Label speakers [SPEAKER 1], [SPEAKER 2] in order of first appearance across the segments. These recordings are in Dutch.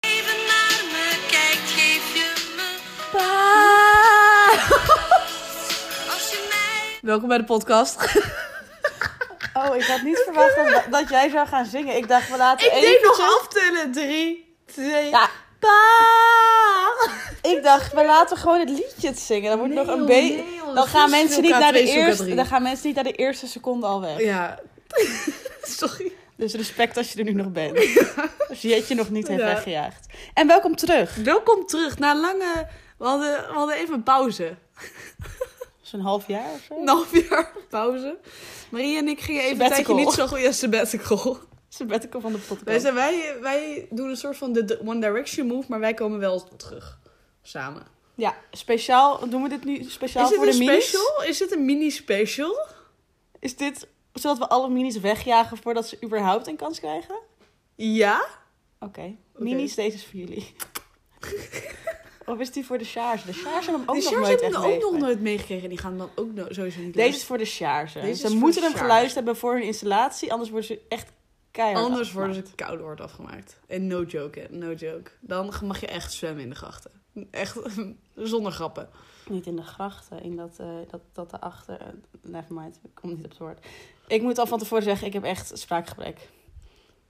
[SPEAKER 1] Ah. Welkom bij de podcast.
[SPEAKER 2] Oh, ik had niet verwacht dat, dat jij zou gaan zingen. Ik dacht, we laten
[SPEAKER 1] Ik
[SPEAKER 2] eventjes...
[SPEAKER 1] deed nog aftellen. Drie, twee,
[SPEAKER 2] Ja,
[SPEAKER 1] pa!
[SPEAKER 2] ik dacht, we laten gewoon het liedje zingen. Dan wordt
[SPEAKER 1] Nee,
[SPEAKER 2] nog een
[SPEAKER 1] joh,
[SPEAKER 2] beetje...
[SPEAKER 1] nee, joh, dat
[SPEAKER 2] dan,
[SPEAKER 1] is
[SPEAKER 2] gaan
[SPEAKER 1] veel
[SPEAKER 2] mensen niet naar de
[SPEAKER 1] K2 zoeken,
[SPEAKER 2] eerste,
[SPEAKER 1] drie.
[SPEAKER 2] dan gaan mensen niet naar de eerste seconde al weg.
[SPEAKER 1] Ja. Sorry.
[SPEAKER 2] Dus respect als je er nu nog bent. Als je je nog niet heeft
[SPEAKER 1] Ja.
[SPEAKER 2] weggejaagd. En welkom terug.
[SPEAKER 1] Welkom terug na lange... We hadden, we hadden even een pauze.
[SPEAKER 2] Dat is een half jaar of zo.
[SPEAKER 1] Een half jaar pauze. Marie en ik gingen even een tijdje
[SPEAKER 2] Sabbatical.
[SPEAKER 1] niet zo goed... Ja, sabbatical.
[SPEAKER 2] Sabbatical van de
[SPEAKER 1] Wij,
[SPEAKER 2] podcast.
[SPEAKER 1] zijn, wij, wij doen een soort van de, de One Direction move, maar wij komen wel terug. Samen.
[SPEAKER 2] Ja, speciaal. Doen we dit nu speciaal
[SPEAKER 1] Is dit
[SPEAKER 2] voor de
[SPEAKER 1] een
[SPEAKER 2] minis?
[SPEAKER 1] special? Is dit een mini-special?
[SPEAKER 2] Is dit zodat we alle minis wegjagen voordat ze überhaupt een kans krijgen?
[SPEAKER 1] Ja?
[SPEAKER 2] Oké. Minis, deze is voor jullie. of is die voor de Sjaars? De Sjaars hebben hem ook
[SPEAKER 1] die
[SPEAKER 2] nog
[SPEAKER 1] Sjors
[SPEAKER 2] nooit
[SPEAKER 1] hebben
[SPEAKER 2] echt
[SPEAKER 1] hem ook nog
[SPEAKER 2] meegemaakt.
[SPEAKER 1] nooit meegekregen. Die gaan dan ook no- sowieso niet
[SPEAKER 2] Deze is voor de Sjaars.
[SPEAKER 1] Deze is
[SPEAKER 2] Ze
[SPEAKER 1] voor
[SPEAKER 2] moeten
[SPEAKER 1] de
[SPEAKER 2] hem
[SPEAKER 1] Sjaars.
[SPEAKER 2] geluisterd hebben voor hun installatie. Anders worden ze echt keihard
[SPEAKER 1] Anders worden ze
[SPEAKER 2] afgemaakt.
[SPEAKER 1] koud wordt afgemaakt. En no joke, hè. no joke. Dan mag je echt zwemmen in de grachten. Echt zonder grappen.
[SPEAKER 2] Niet in de grachten. In dat, eh dat, dat daarachter. eh, Nevermind. Ik kom niet op het woord. Ik moet al van tevoren zeggen. Ik heb echt spraakgebrek.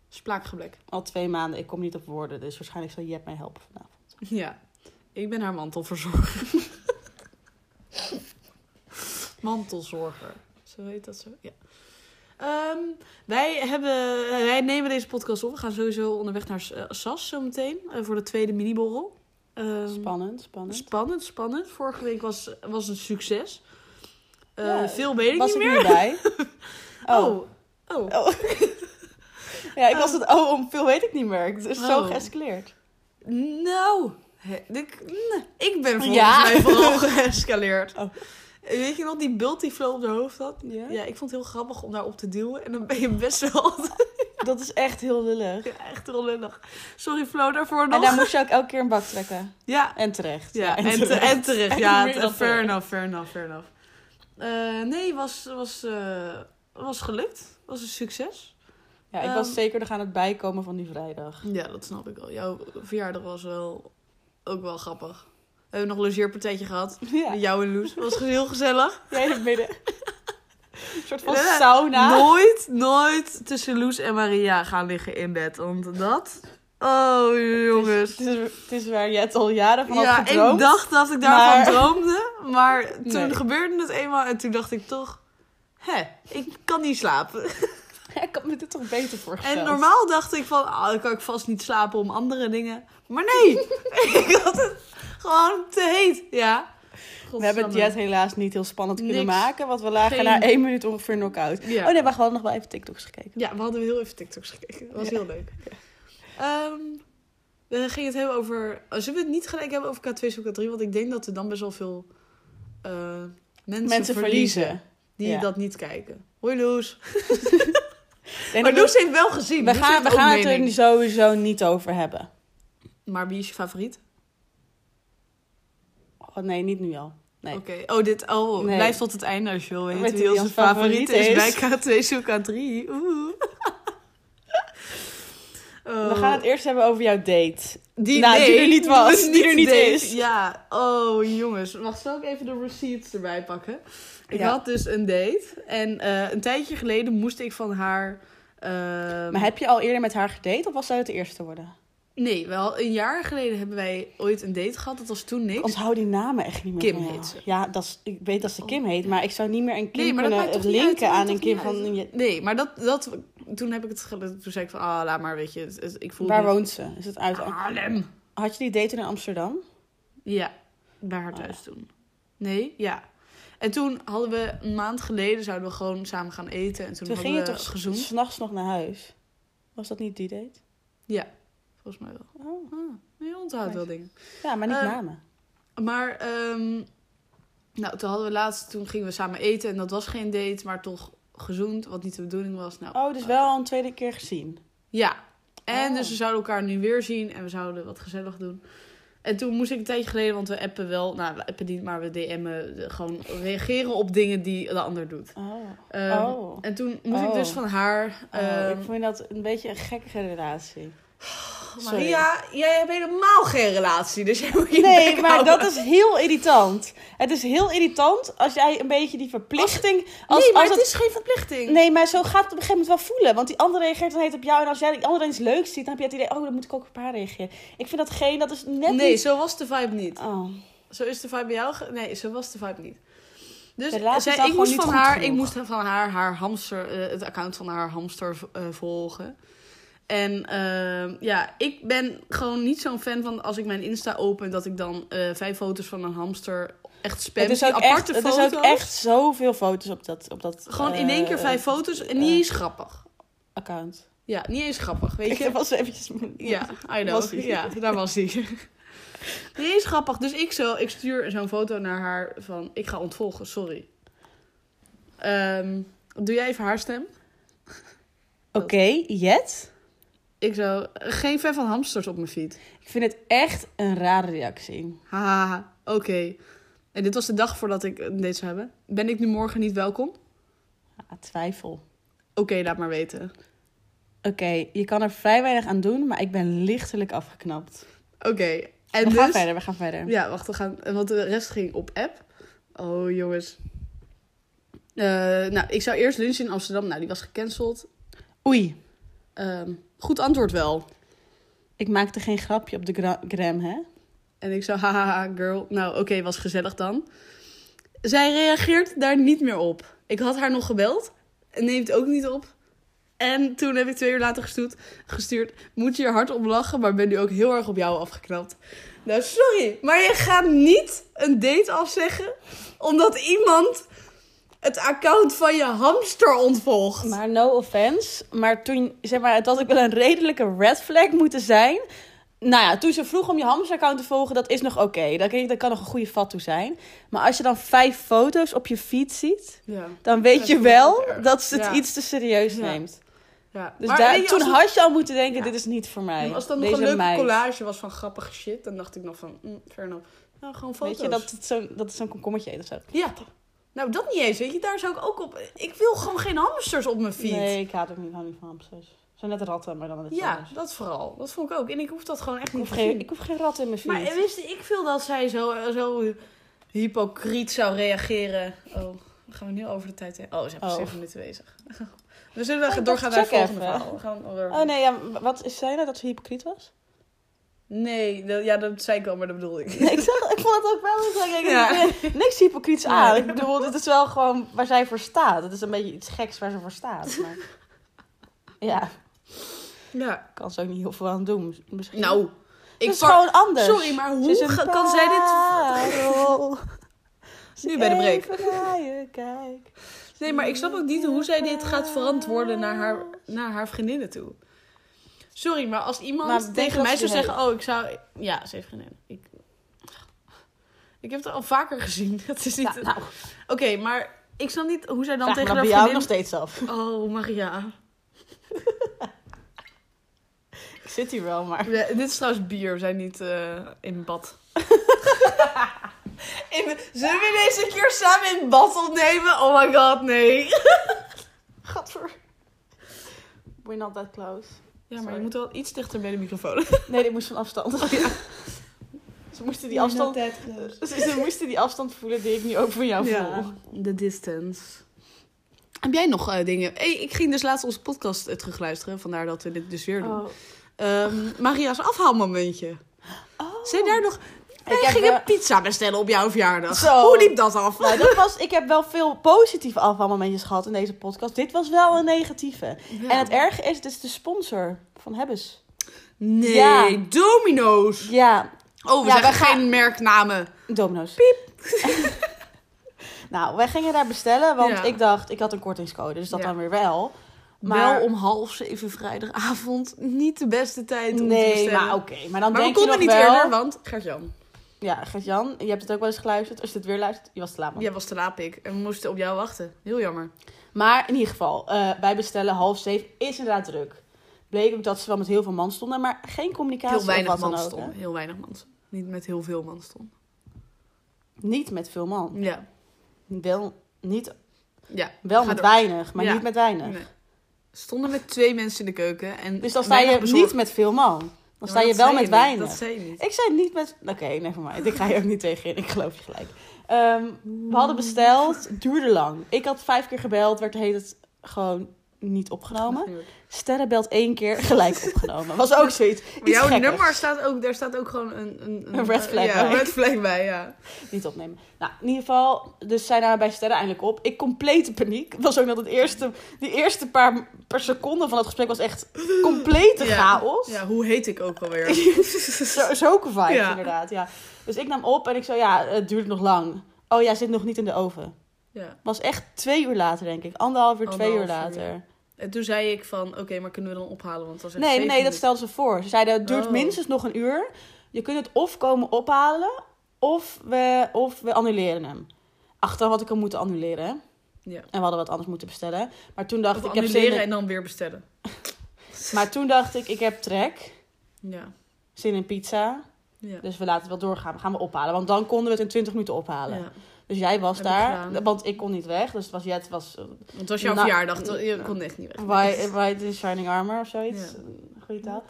[SPEAKER 1] Spraakgebrek.
[SPEAKER 2] Al twee maanden. Ik kom niet op woorden. Dus waarschijnlijk zal Jep mij helpen vanavond.
[SPEAKER 1] Ja. Ik ben haar mantelverzorger. Mantelzorger. Zo heet dat zo? Ja. Ehm, wij, hebben, eh, wij nemen deze podcast op. We gaan sowieso onderweg naar eh, SAS zometeen. eh, voor de tweede miniborrel. Ehm,
[SPEAKER 2] Spannend. Spannend.
[SPEAKER 1] Spannend, spannend. Vorige week was, was een succes. Eh,
[SPEAKER 2] Ja,
[SPEAKER 1] veel weet ik
[SPEAKER 2] was
[SPEAKER 1] niet
[SPEAKER 2] ik
[SPEAKER 1] meer.
[SPEAKER 2] nu bij? oh.
[SPEAKER 1] Oh. Oh.
[SPEAKER 2] Oh. ja, ik was het oh om veel weet ik niet meer. Het is zo
[SPEAKER 1] Oh.
[SPEAKER 2] geëscaleerd.
[SPEAKER 1] Nou. hè, Ik, nee, ik ben volgens
[SPEAKER 2] Ja.
[SPEAKER 1] mij vooral geëscaleerd.
[SPEAKER 2] Oh.
[SPEAKER 1] Weet je nog die bult die Flo op de hoofd had?
[SPEAKER 2] Ja?
[SPEAKER 1] Ja, ik vond het heel grappig om daarop te duwen. En dan ben je best wel altijd
[SPEAKER 2] Dat is echt heel lullig.
[SPEAKER 1] echt heel lullig. Sorry Flo daarvoor nog.
[SPEAKER 2] En daar moest je ook elke keer een bak trekken.
[SPEAKER 1] Ja,
[SPEAKER 2] En terecht.
[SPEAKER 1] ja, en, te- en terecht. Ja,
[SPEAKER 2] meer dan
[SPEAKER 1] fair
[SPEAKER 2] terecht.
[SPEAKER 1] enough, fair enough, fair enough. Eh, nee, was, was, eh, was gelukt. Was een succes.
[SPEAKER 2] Ja, ik was
[SPEAKER 1] Ehm.
[SPEAKER 2] zeker nog aan het bijkomen van die vrijdag.
[SPEAKER 1] Ja, dat snap ik wel. Jouw verjaardag was wel ook wel grappig. We hebben nog een logeerpartijtje gehad.
[SPEAKER 2] Ja,
[SPEAKER 1] Met jou en Loes. was heel gezellig.
[SPEAKER 2] jij in het midden. Een soort van
[SPEAKER 1] Ja,
[SPEAKER 2] sauna.
[SPEAKER 1] Nooit, nooit tussen Loes en Maria gaan liggen in bed. Want dat... Oh, jongens.
[SPEAKER 2] Het is, het is- het is waar jij het al jaren van had
[SPEAKER 1] Ja,
[SPEAKER 2] gedroomd.
[SPEAKER 1] ik dacht dat ik daarvan
[SPEAKER 2] maar-
[SPEAKER 1] droomde. Maar toen
[SPEAKER 2] Nee.
[SPEAKER 1] gebeurde het eenmaal. En toen dacht ik toch... Hè, ik kan niet slapen.
[SPEAKER 2] ik had me dit toch beter voorgesteld.
[SPEAKER 1] En normaal dacht ik van, ah, dan kan ik vast niet slapen om andere dingen. Maar nee, ik had het gewoon te heet. Ja.
[SPEAKER 2] We hebben het jet helaas niet heel spannend kunnen
[SPEAKER 1] Niks.
[SPEAKER 2] maken. Want we lagen
[SPEAKER 1] Geen-
[SPEAKER 2] na één minuut ongeveer knock-out.
[SPEAKER 1] Ja.
[SPEAKER 2] Oh nee, maar we hadden nog wel even TikToks gekeken.
[SPEAKER 1] Ja, we hadden heel even TikToks gekeken. Dat was heel leuk. Ehm, we gingen het hebben over... oh, Zullen we het niet gelijk hebben over K2 zoek K3? Want ik denk dat er dan best wel veel eh, mensen,
[SPEAKER 2] Mensen
[SPEAKER 1] verliezen
[SPEAKER 2] verliezen.
[SPEAKER 1] die
[SPEAKER 2] Ja.
[SPEAKER 1] dat niet kijken. Hoi Loes.
[SPEAKER 2] En
[SPEAKER 1] maar Loes heeft wel
[SPEAKER 2] We
[SPEAKER 1] gezien. Loes
[SPEAKER 2] gaan,
[SPEAKER 1] heeft
[SPEAKER 2] we
[SPEAKER 1] ook
[SPEAKER 2] gaan het er
[SPEAKER 1] mening.
[SPEAKER 2] sowieso niet over hebben.
[SPEAKER 1] Maar wie is je favoriet?
[SPEAKER 2] Oh, nee, niet nu al. Nee.
[SPEAKER 1] Oké. Oh, dit... Oh,
[SPEAKER 2] Nee.
[SPEAKER 1] blijf tot het einde als je wil weten
[SPEAKER 2] Weet
[SPEAKER 1] wie
[SPEAKER 2] wie
[SPEAKER 1] onze
[SPEAKER 2] ons
[SPEAKER 1] favoriet,
[SPEAKER 2] favoriet
[SPEAKER 1] is. Bij K2 zoek K3. Oeh.
[SPEAKER 2] We gaan het eerst hebben over jouw date.
[SPEAKER 1] Die,
[SPEAKER 2] Nou, die
[SPEAKER 1] nee,
[SPEAKER 2] er niet was, die er niet
[SPEAKER 1] deed.
[SPEAKER 2] is.
[SPEAKER 1] Ja, oh jongens. Wacht, zal ik even de receipts erbij pakken? Ik
[SPEAKER 2] Ja.
[SPEAKER 1] had dus een date. En eh, een tijdje geleden moest ik van haar... ehm,
[SPEAKER 2] Maar heb je al eerder met haar gedate of was zij het de eerste te worden?
[SPEAKER 1] Nee, wel een jaar geleden hebben wij ooit een date gehad. Dat was toen
[SPEAKER 2] Ik
[SPEAKER 1] niks.
[SPEAKER 2] onthoud die namen echt niet meer.
[SPEAKER 1] Kim
[SPEAKER 2] van jou.
[SPEAKER 1] heet ze. Oh.
[SPEAKER 2] Ja, dat is, ik weet dat ze Kim heet, maar ik zou niet meer een Kim
[SPEAKER 1] Nee, maar dat
[SPEAKER 2] kunnen
[SPEAKER 1] maakt toch niet uit,
[SPEAKER 2] linken aan
[SPEAKER 1] dat maakt
[SPEAKER 2] een
[SPEAKER 1] toch
[SPEAKER 2] Kim
[SPEAKER 1] niet
[SPEAKER 2] van...
[SPEAKER 1] uit.
[SPEAKER 2] je-
[SPEAKER 1] Nee, maar dat, dat, toen heb ik het... ge- Toen zei ik van, ah, laat maar, weet je. het- het- ik voel
[SPEAKER 2] Waar
[SPEAKER 1] het
[SPEAKER 2] woont ze? Is het uit?
[SPEAKER 1] niet. Haarlem.
[SPEAKER 2] Had je die date in Amsterdam?
[SPEAKER 1] Ja, bij haar
[SPEAKER 2] Oh,
[SPEAKER 1] thuis toen. Nee, ja. En toen hadden we een maand geleden zouden we gewoon samen gaan eten. En toen,
[SPEAKER 2] Toen
[SPEAKER 1] hadden
[SPEAKER 2] ging je
[SPEAKER 1] we
[SPEAKER 2] toch
[SPEAKER 1] gezoend.
[SPEAKER 2] s- s'nachts nog naar huis? Was dat niet die date?
[SPEAKER 1] Ja, volgens mij wel.
[SPEAKER 2] Oh.
[SPEAKER 1] Ah, je onthoudt wel dingen.
[SPEAKER 2] Ja, maar niet
[SPEAKER 1] Eh,
[SPEAKER 2] namen.
[SPEAKER 1] Maar, ehm, nou, toen hadden we laatst, toen gingen we samen eten en dat was geen date, maar toch gezoend, wat niet de bedoeling was. Nou,
[SPEAKER 2] Oh, dus wel al een tweede keer gezien.
[SPEAKER 1] Ja. En
[SPEAKER 2] Oh.
[SPEAKER 1] dus we zouden elkaar nu weer zien en we zouden wat gezellig doen. En toen moest ik een tijdje geleden, want we appen wel, nou, we appen niet, maar we DM'en, de- gewoon reageren op dingen die de ander doet.
[SPEAKER 2] Oh.
[SPEAKER 1] Ehm,
[SPEAKER 2] Oh.
[SPEAKER 1] En toen moest ik
[SPEAKER 2] Oh.
[SPEAKER 1] dus van haar.
[SPEAKER 2] Oh,
[SPEAKER 1] ehm,
[SPEAKER 2] ik vond dat een beetje een gekke relatie. Sorry.
[SPEAKER 1] Maria, jij hebt helemaal geen relatie, dus jij moet je
[SPEAKER 2] Nee,
[SPEAKER 1] bek
[SPEAKER 2] maar
[SPEAKER 1] houden.
[SPEAKER 2] dat is heel irritant. Het is heel irritant als jij een beetje die verplichting. Als,
[SPEAKER 1] nee, maar
[SPEAKER 2] als
[SPEAKER 1] het
[SPEAKER 2] dat-
[SPEAKER 1] is geen verplichting.
[SPEAKER 2] nee, maar zo gaat het op een gegeven moment wel voelen. Want die andere reageert dan heet op jou. En als jij die andere eens leuk ziet, dan heb je het idee: oh, dan moet ik ook op haar reageren. Ik vind dat geen, dat is net.
[SPEAKER 1] Nee,
[SPEAKER 2] niet-
[SPEAKER 1] zo was de vibe niet.
[SPEAKER 2] Oh.
[SPEAKER 1] Zo is de vibe bij jou. ge- Nee, zo was de vibe niet. Dus
[SPEAKER 2] De relatie
[SPEAKER 1] zij,
[SPEAKER 2] is dan
[SPEAKER 1] ik,
[SPEAKER 2] gewoon
[SPEAKER 1] moest
[SPEAKER 2] niet
[SPEAKER 1] van
[SPEAKER 2] goed
[SPEAKER 1] haar, ik
[SPEAKER 2] genoeg.
[SPEAKER 1] moest van haar, haar hamster, eh, het account van haar hamster eh, volgen. En ehm, ja, ik ben gewoon niet zo'n fan van als ik mijn Insta open... dat ik dan eh, vijf foto's van een hamster echt spam.
[SPEAKER 2] Het is,
[SPEAKER 1] zie.
[SPEAKER 2] ook echt,
[SPEAKER 1] aparte
[SPEAKER 2] het
[SPEAKER 1] foto's.
[SPEAKER 2] is ook echt zoveel foto's op dat. Op dat
[SPEAKER 1] Gewoon in één keer
[SPEAKER 2] eh,
[SPEAKER 1] vijf foto's en niet
[SPEAKER 2] eh,
[SPEAKER 1] eens grappig.
[SPEAKER 2] account.
[SPEAKER 1] Ja, niet eens grappig, weet
[SPEAKER 2] Ik
[SPEAKER 1] je.
[SPEAKER 2] was eventjes.
[SPEAKER 1] Ja, I know.
[SPEAKER 2] Was hij.
[SPEAKER 1] Ja, daar was hij. Die is grappig. Dus ik, zo, ik stuur zo'n foto naar haar van... Ik ga ontvolgen, sorry. Ehm, doe jij even haar stem?
[SPEAKER 2] Oké, Jet.
[SPEAKER 1] Ik zo... Geen fan van hamsters op mijn feed.
[SPEAKER 2] Ik vind het echt een rare reactie.
[SPEAKER 1] Haha, oké. En dit was de dag voordat ik eh, dit zou hebben. Ben ik nu morgen niet welkom? Oké,
[SPEAKER 2] Ja, Ah, twijfel.
[SPEAKER 1] laat maar weten.
[SPEAKER 2] Oké, je kan er vrij weinig aan doen, maar ik ben lichtelijk afgeknapt.
[SPEAKER 1] Oké. En
[SPEAKER 2] we
[SPEAKER 1] dus...
[SPEAKER 2] gaan verder, we gaan verder.
[SPEAKER 1] Ja, wacht, we gaan. Want de rest ging op app. Oh, jongens. Eh, nou, ik zou eerst lunchen in Amsterdam. Nou, die was gecanceld.
[SPEAKER 2] Oei,
[SPEAKER 1] Ehm, goed antwoord wel.
[SPEAKER 2] ik maakte geen grapje op de gra- gram, hè?
[SPEAKER 1] En ik zo, haha, girl. Nou, oké, was gezellig dan. Zij reageert daar niet meer op. Ik had haar nog gebeld. En neemt ook niet op. En toen heb ik twee uur later gestuurd, gestuurd. Moet je er hard om lachen, maar ben nu ook heel erg op jou afgeknapt. Nou, sorry, maar je gaat niet een date afzeggen. omdat iemand het account van je hamster ontvolgt.
[SPEAKER 2] Maar no offense, maar toen, zeg maar, het had ook wel een redelijke red flag moeten zijn. Nou ja, toen ze vroeg om je hamsteraccount te volgen, dat is nog oké. Dat, kan- dat kan nog een goede fat toe zijn. Maar als je dan vijf foto's op je feed ziet,
[SPEAKER 1] Ja,
[SPEAKER 2] dan weet
[SPEAKER 1] Dat
[SPEAKER 2] je
[SPEAKER 1] vind ik
[SPEAKER 2] wel
[SPEAKER 1] ook erg.
[SPEAKER 2] dat ze het
[SPEAKER 1] Ja.
[SPEAKER 2] iets te serieus
[SPEAKER 1] Ja.
[SPEAKER 2] neemt.
[SPEAKER 1] ja.
[SPEAKER 2] Dus
[SPEAKER 1] Maar
[SPEAKER 2] daar,
[SPEAKER 1] weet je,
[SPEAKER 2] toen
[SPEAKER 1] als het-
[SPEAKER 2] had je al moeten denken,
[SPEAKER 1] Ja.
[SPEAKER 2] dit is niet voor
[SPEAKER 1] Ja,
[SPEAKER 2] mij.
[SPEAKER 1] maar als het dan nog
[SPEAKER 2] Deze
[SPEAKER 1] een leuke
[SPEAKER 2] meid.
[SPEAKER 1] collage was van grappige shit, dan dacht ik nog van, mm, fair enough. Nou, gewoon foto's.
[SPEAKER 2] Weet je, dat het zo'n dat het zo'n komkommetje eet of zo.
[SPEAKER 1] Ja. Nou, dat niet eens, weet je. Daar zou ik ook op... Ik wil gewoon geen hamsters op mijn feed.
[SPEAKER 2] Nee, ik haat ook niet, hou niet van hamsters. Ze zijn net ratten, maar dan met iets
[SPEAKER 1] Ja,
[SPEAKER 2] anders.
[SPEAKER 1] dat vooral. Dat vond ik ook. En ik hoef dat gewoon echt
[SPEAKER 2] Ik
[SPEAKER 1] niet
[SPEAKER 2] hoef,
[SPEAKER 1] te
[SPEAKER 2] geen, ik
[SPEAKER 1] zien.
[SPEAKER 2] hoef geen ratten in mijn
[SPEAKER 1] Maar
[SPEAKER 2] fiets.
[SPEAKER 1] wist ik veel dat zij zo, zo hypocriet zou reageren. Oh, gaan we nu over de tijd heen? Oh, ze hebben
[SPEAKER 2] Oh.
[SPEAKER 1] zeven minuten bezig. We zullen
[SPEAKER 2] Oh, ik
[SPEAKER 1] doorgaan naar
[SPEAKER 2] dacht,
[SPEAKER 1] het
[SPEAKER 2] check
[SPEAKER 1] volgende
[SPEAKER 2] even.
[SPEAKER 1] verhaal. We gaan door.
[SPEAKER 2] Oh nee, ja, wat is zij nou dat ze hypocriet was?
[SPEAKER 1] Nee, dat, ja, dat zei ik wel, maar dat bedoelde ik.
[SPEAKER 2] Nee, ik, zag, ik vond het ook wel. Ik dacht, ik
[SPEAKER 1] Ja.
[SPEAKER 2] vind niks hypocriets
[SPEAKER 1] Nee.
[SPEAKER 2] aan. Ik bedoel, dit is wel gewoon waar zij voor staat. Het is een beetje iets geks waar ze voor staat. Maar... Ja,
[SPEAKER 1] Ja.
[SPEAKER 2] kan ze ook niet heel veel aan doen. Misschien.
[SPEAKER 1] Nou, ik
[SPEAKER 2] Het is
[SPEAKER 1] var-
[SPEAKER 2] gewoon anders.
[SPEAKER 1] Sorry, maar hoe ga- kan zij dit... Nu bij de break. Nee, maar ik snap ook niet hoe zij dit gaat verantwoorden naar haar, naar haar vriendinnen toe. Sorry, maar als iemand
[SPEAKER 2] Maar denk
[SPEAKER 1] tegen
[SPEAKER 2] dat
[SPEAKER 1] mij
[SPEAKER 2] ze
[SPEAKER 1] zou
[SPEAKER 2] die
[SPEAKER 1] zeggen... Oh, ik zou... Ja, ze heeft vriendinnen. Ik, ik heb het al vaker gezien. Dat is niet...
[SPEAKER 2] Ja, nou,
[SPEAKER 1] Oké, maar ik snap niet hoe zij dan
[SPEAKER 2] dan
[SPEAKER 1] tegen haar
[SPEAKER 2] bij jou nog
[SPEAKER 1] vriendin...
[SPEAKER 2] steeds af.
[SPEAKER 1] Oh, Maria.
[SPEAKER 2] Ik zit hier wel, maar...
[SPEAKER 1] Ja, dit is trouwens bier. We zijn niet eh, in bad. in, zullen we deze keer samen in bad opnemen? Oh my god, nee.
[SPEAKER 2] Gadver. We're not that close.
[SPEAKER 1] Ja, maar
[SPEAKER 2] Sorry.
[SPEAKER 1] je moet wel iets dichter bij de microfoon.
[SPEAKER 2] Nee, dit moest van afstand. Ze moesten die afstand... Ze, ze moesten die afstand voelen die ik nu ook van jou
[SPEAKER 1] Ja,
[SPEAKER 2] voel.
[SPEAKER 1] de distance. Heb jij nog eh, dingen? Hey, ik ging dus laatst onze podcast eh, terugluisteren. Vandaar dat we dit dus weer doen. Ehm, Maria's afhaalmomentje.
[SPEAKER 2] Oh.
[SPEAKER 1] Zijn daar nog... Wij
[SPEAKER 2] heb
[SPEAKER 1] gingen
[SPEAKER 2] wel-
[SPEAKER 1] pizza bestellen op jouw verjaardag.
[SPEAKER 2] Zo.
[SPEAKER 1] Hoe liep dat af?
[SPEAKER 2] Nou, dat was, ik heb wel veel positieve afvalmomentjes gehad in deze podcast. Dit was wel een negatieve. En het erge is, dit is de sponsor van Hebbes.
[SPEAKER 1] Nee,
[SPEAKER 2] Ja.
[SPEAKER 1] domino's.
[SPEAKER 2] Ja,
[SPEAKER 1] Oh, we
[SPEAKER 2] Ja,
[SPEAKER 1] zeggen
[SPEAKER 2] we gaan-
[SPEAKER 1] geen merknamen.
[SPEAKER 2] Domino's. Piep. nou, wij gingen daar bestellen, want
[SPEAKER 1] Ja.
[SPEAKER 2] ik dacht, ik had een kortingscode, dus dat
[SPEAKER 1] Ja.
[SPEAKER 2] dan weer wel.
[SPEAKER 1] Maar... Wel om half zeven vrijdagavond. Niet de beste tijd om te
[SPEAKER 2] Nee,
[SPEAKER 1] bestellen.
[SPEAKER 2] maar oké. Maar dan
[SPEAKER 1] Maar we
[SPEAKER 2] denk je nog
[SPEAKER 1] konden niet
[SPEAKER 2] wel...
[SPEAKER 1] eerder, want Gert-Jan,
[SPEAKER 2] Ja, Gert-Jan, je hebt het ook wel eens geluisterd. Als je het weer luistert, je was te laat. man.
[SPEAKER 1] jij was te laat, pik. En we moesten op jou wachten. Heel jammer.
[SPEAKER 2] Maar in ieder geval, eh wij bestellen half zeven is inderdaad druk. Bleek ook dat ze wel met heel veel man stonden, maar geen communicatie
[SPEAKER 1] Heel weinig
[SPEAKER 2] of wat
[SPEAKER 1] man
[SPEAKER 2] dan ook.
[SPEAKER 1] stond.
[SPEAKER 2] hè.
[SPEAKER 1] Heel weinig man stond. Niet met heel veel man stond.
[SPEAKER 2] Niet met veel man.
[SPEAKER 1] Ja.
[SPEAKER 2] Wel, niet,
[SPEAKER 1] ja.
[SPEAKER 2] wel
[SPEAKER 1] Ga
[SPEAKER 2] met
[SPEAKER 1] door.
[SPEAKER 2] weinig, maar
[SPEAKER 1] Ja.
[SPEAKER 2] niet met weinig.
[SPEAKER 1] Nee. Stonden met twee mensen in de keuken. En
[SPEAKER 2] Dus dan sta je
[SPEAKER 1] weinig bezorgd.
[SPEAKER 2] niet met veel man. Dan sta je wel met
[SPEAKER 1] wijn.
[SPEAKER 2] weinig.
[SPEAKER 1] Dat zei je niet.
[SPEAKER 2] Ik zei niet met... Oké, nee, voor mij. Ik ga je ook niet tegenin. Ik geloof je gelijk. Ehm, we hadden besteld. Duurde lang. Ik had vijf keer gebeld. Werd heet het gewoon niet opgenomen. Sterre belt één keer gelijk opgenomen. Was ook zoiets. Iets
[SPEAKER 1] Maar jouw
[SPEAKER 2] gekkers.
[SPEAKER 1] nummer staat ook, daar staat ook gewoon een, een,
[SPEAKER 2] Een red flag
[SPEAKER 1] ja,
[SPEAKER 2] bij.
[SPEAKER 1] Een red flag bij, ja.
[SPEAKER 2] Niet opnemen. Nou, in ieder geval, dus zij namen bij Sterren eindelijk op. Ik complete paniek. Het was ook dat het eerste, die eerste paar per seconde van dat gesprek was echt complete
[SPEAKER 1] Ja.
[SPEAKER 2] chaos.
[SPEAKER 1] Ja, hoe heet ik ook alweer?
[SPEAKER 2] Zo, zulke vibes
[SPEAKER 1] Ja.
[SPEAKER 2] inderdaad, ja. Dus ik nam op en ik zo, ja, het duurt nog lang. Oh ja, zit nog niet in de oven.
[SPEAKER 1] ja.
[SPEAKER 2] Was echt twee uur later, denk ik. Anderhalf uur, twee uur
[SPEAKER 1] Anderhalf uur.
[SPEAKER 2] later.
[SPEAKER 1] En toen zei ik van, oké, maar kunnen we dan ophalen? Want het was echt
[SPEAKER 2] Nee,
[SPEAKER 1] zeven
[SPEAKER 2] nee, dat
[SPEAKER 1] minuten.
[SPEAKER 2] stelden ze voor. Ze zeiden, het duurt
[SPEAKER 1] Oh.
[SPEAKER 2] minstens nog een uur. Je kunt het of komen ophalen, of we, of we annuleren hem. Achteraf had ik hem moeten annuleren. hè.
[SPEAKER 1] Ja.
[SPEAKER 2] En we hadden wat anders moeten bestellen. Maar toen dacht
[SPEAKER 1] Of
[SPEAKER 2] ik, ik heb
[SPEAKER 1] annuleren
[SPEAKER 2] zin in...
[SPEAKER 1] en dan weer bestellen.
[SPEAKER 2] Maar toen dacht ik, ik heb trek.
[SPEAKER 1] Ja.
[SPEAKER 2] Zin in pizza.
[SPEAKER 1] ja.
[SPEAKER 2] Dus we laten het wel doorgaan. We gaan we ophalen. Want dan konden we het in 20 minuten ophalen.
[SPEAKER 1] Ja.
[SPEAKER 2] Dus jij was
[SPEAKER 1] Heb ik
[SPEAKER 2] daar.
[SPEAKER 1] gedaan.
[SPEAKER 2] want ik kon niet weg. Dus het was, ja, het was eh,
[SPEAKER 1] Want het was jouw
[SPEAKER 2] Nou,
[SPEAKER 1] verjaardag, to- je kon echt niet weg.
[SPEAKER 2] White, White in Shining Armor of zoiets.
[SPEAKER 1] Ja.
[SPEAKER 2] Goeie taal.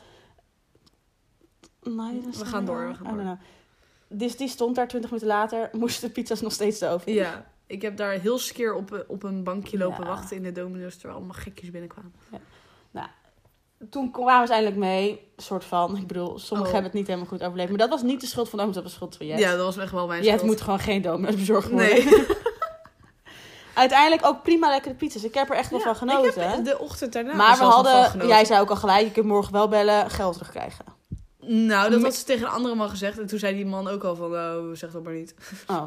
[SPEAKER 2] Nee, dat is
[SPEAKER 1] We gaan
[SPEAKER 2] niet
[SPEAKER 1] door,
[SPEAKER 2] waar.
[SPEAKER 1] we gaan
[SPEAKER 2] I don't know. Dus die stond daar 20 minuten later. Moesten de pizza's nog steeds de oven in.
[SPEAKER 1] Ja, ik heb daar heel skeer op, eh, op een bankje lopen
[SPEAKER 2] Ja.
[SPEAKER 1] wachten in de domino's, terwijl allemaal gekjes binnenkwamen.
[SPEAKER 2] Toen kwamen ze eindelijk mee. soort van. Ik bedoel, sommigen
[SPEAKER 1] Oh.
[SPEAKER 2] hebben het niet helemaal goed overleefd. Maar dat was niet de schuld van Domino's. Dat was de schuld van Jet.
[SPEAKER 1] Ja, dat was echt wel mijn
[SPEAKER 2] Jet
[SPEAKER 1] schuld.
[SPEAKER 2] moet gewoon geen Domino's bezorgd worden.
[SPEAKER 1] Nee.
[SPEAKER 2] Uiteindelijk ook prima lekkere pizza's. Ik heb er echt wel
[SPEAKER 1] Ja,
[SPEAKER 2] van genoten.
[SPEAKER 1] Ik heb de ochtend daarna
[SPEAKER 2] maar we
[SPEAKER 1] zelfs nog van
[SPEAKER 2] hadden...
[SPEAKER 1] genoten.
[SPEAKER 2] Jij zei ook al gelijk. Je kunt morgen wel bellen. Geld terugkrijgen.
[SPEAKER 1] Nou,
[SPEAKER 2] Mm.
[SPEAKER 1] dat had ze tegen een andere man gezegd. En toen zei die man ook al van, oh, zeg dat maar niet.
[SPEAKER 2] Oh.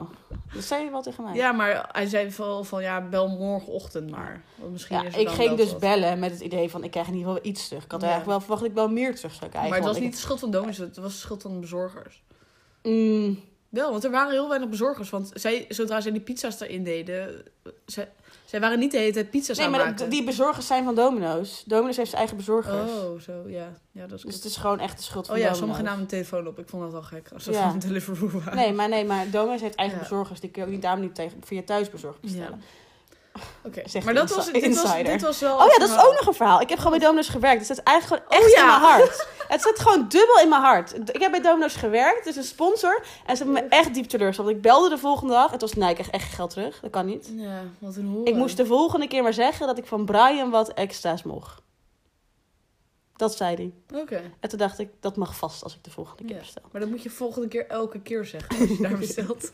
[SPEAKER 2] Dat zei je wel tegen mij.
[SPEAKER 1] Ja, maar hij zei vooral van, ja, bel morgenochtend maar. Want misschien
[SPEAKER 2] Ja,
[SPEAKER 1] is er
[SPEAKER 2] ik
[SPEAKER 1] dan
[SPEAKER 2] ging
[SPEAKER 1] wel
[SPEAKER 2] dus
[SPEAKER 1] wat.
[SPEAKER 2] bellen met het idee van ik krijg in ieder geval iets terug. Ik had
[SPEAKER 1] Ja.
[SPEAKER 2] eigenlijk wel verwacht dat ik wel meer terug zou krijgen.
[SPEAKER 1] Maar het was
[SPEAKER 2] want
[SPEAKER 1] niet de schuld van Domino's, het was de schuld van de bezorgers.
[SPEAKER 2] ik- Mm,
[SPEAKER 1] Wel, want er waren heel weinig bezorgers. Want zij, zodra zij die pizza's erin deden, eh, zij, zij waren niet de hele tijd pizza's
[SPEAKER 2] nee,
[SPEAKER 1] aan
[SPEAKER 2] maar
[SPEAKER 1] het maken.
[SPEAKER 2] d- die bezorgers zijn van Domino's. Domino's heeft zijn eigen bezorgers.
[SPEAKER 1] Oh, zo, ja. ja dat is
[SPEAKER 2] Dus
[SPEAKER 1] goed.
[SPEAKER 2] het is gewoon echt de schuld van
[SPEAKER 1] Oh ja,
[SPEAKER 2] Domino's.
[SPEAKER 1] sommigen namen de telefoon op. Ik vond dat wel gek, als dat
[SPEAKER 2] Ja.
[SPEAKER 1] van Deliveroo waren.
[SPEAKER 2] Nee, maar, nee, maar Domino's heeft eigen
[SPEAKER 1] Ja.
[SPEAKER 2] bezorgers. Die kun je ook niet daarom niet tegen, via thuisbezorg bestellen.
[SPEAKER 1] Oké,
[SPEAKER 2] Zegt
[SPEAKER 1] maar
[SPEAKER 2] de
[SPEAKER 1] dat was,
[SPEAKER 2] insi-
[SPEAKER 1] dit was,
[SPEAKER 2] insider.
[SPEAKER 1] dit was wel...
[SPEAKER 2] Oh ja, dat is ook nog een verhaal. Ik heb gewoon bij Domino's gewerkt. Het zit eigenlijk gewoon echt
[SPEAKER 1] Oh. ja.
[SPEAKER 2] in mijn hart. Het zit gewoon dubbel in mijn hart. Ik heb bij Domino's gewerkt. Het is een sponsor. En ze hebben me echt diep teleurgesteld. Want ik belde de volgende dag. Het was, nee, ik krijg echt geld terug. Dat kan niet.
[SPEAKER 1] Ja, wat een hoer.
[SPEAKER 2] Ik moest de volgende keer maar zeggen dat ik van Brian wat extra's mocht. Dat zei hij.
[SPEAKER 1] Oké.
[SPEAKER 2] En toen dacht ik, dat mag vast als ik de volgende keer
[SPEAKER 1] Ja.
[SPEAKER 2] bestel.
[SPEAKER 1] Maar dat moet je volgende keer elke keer zeggen als je daar bestelt.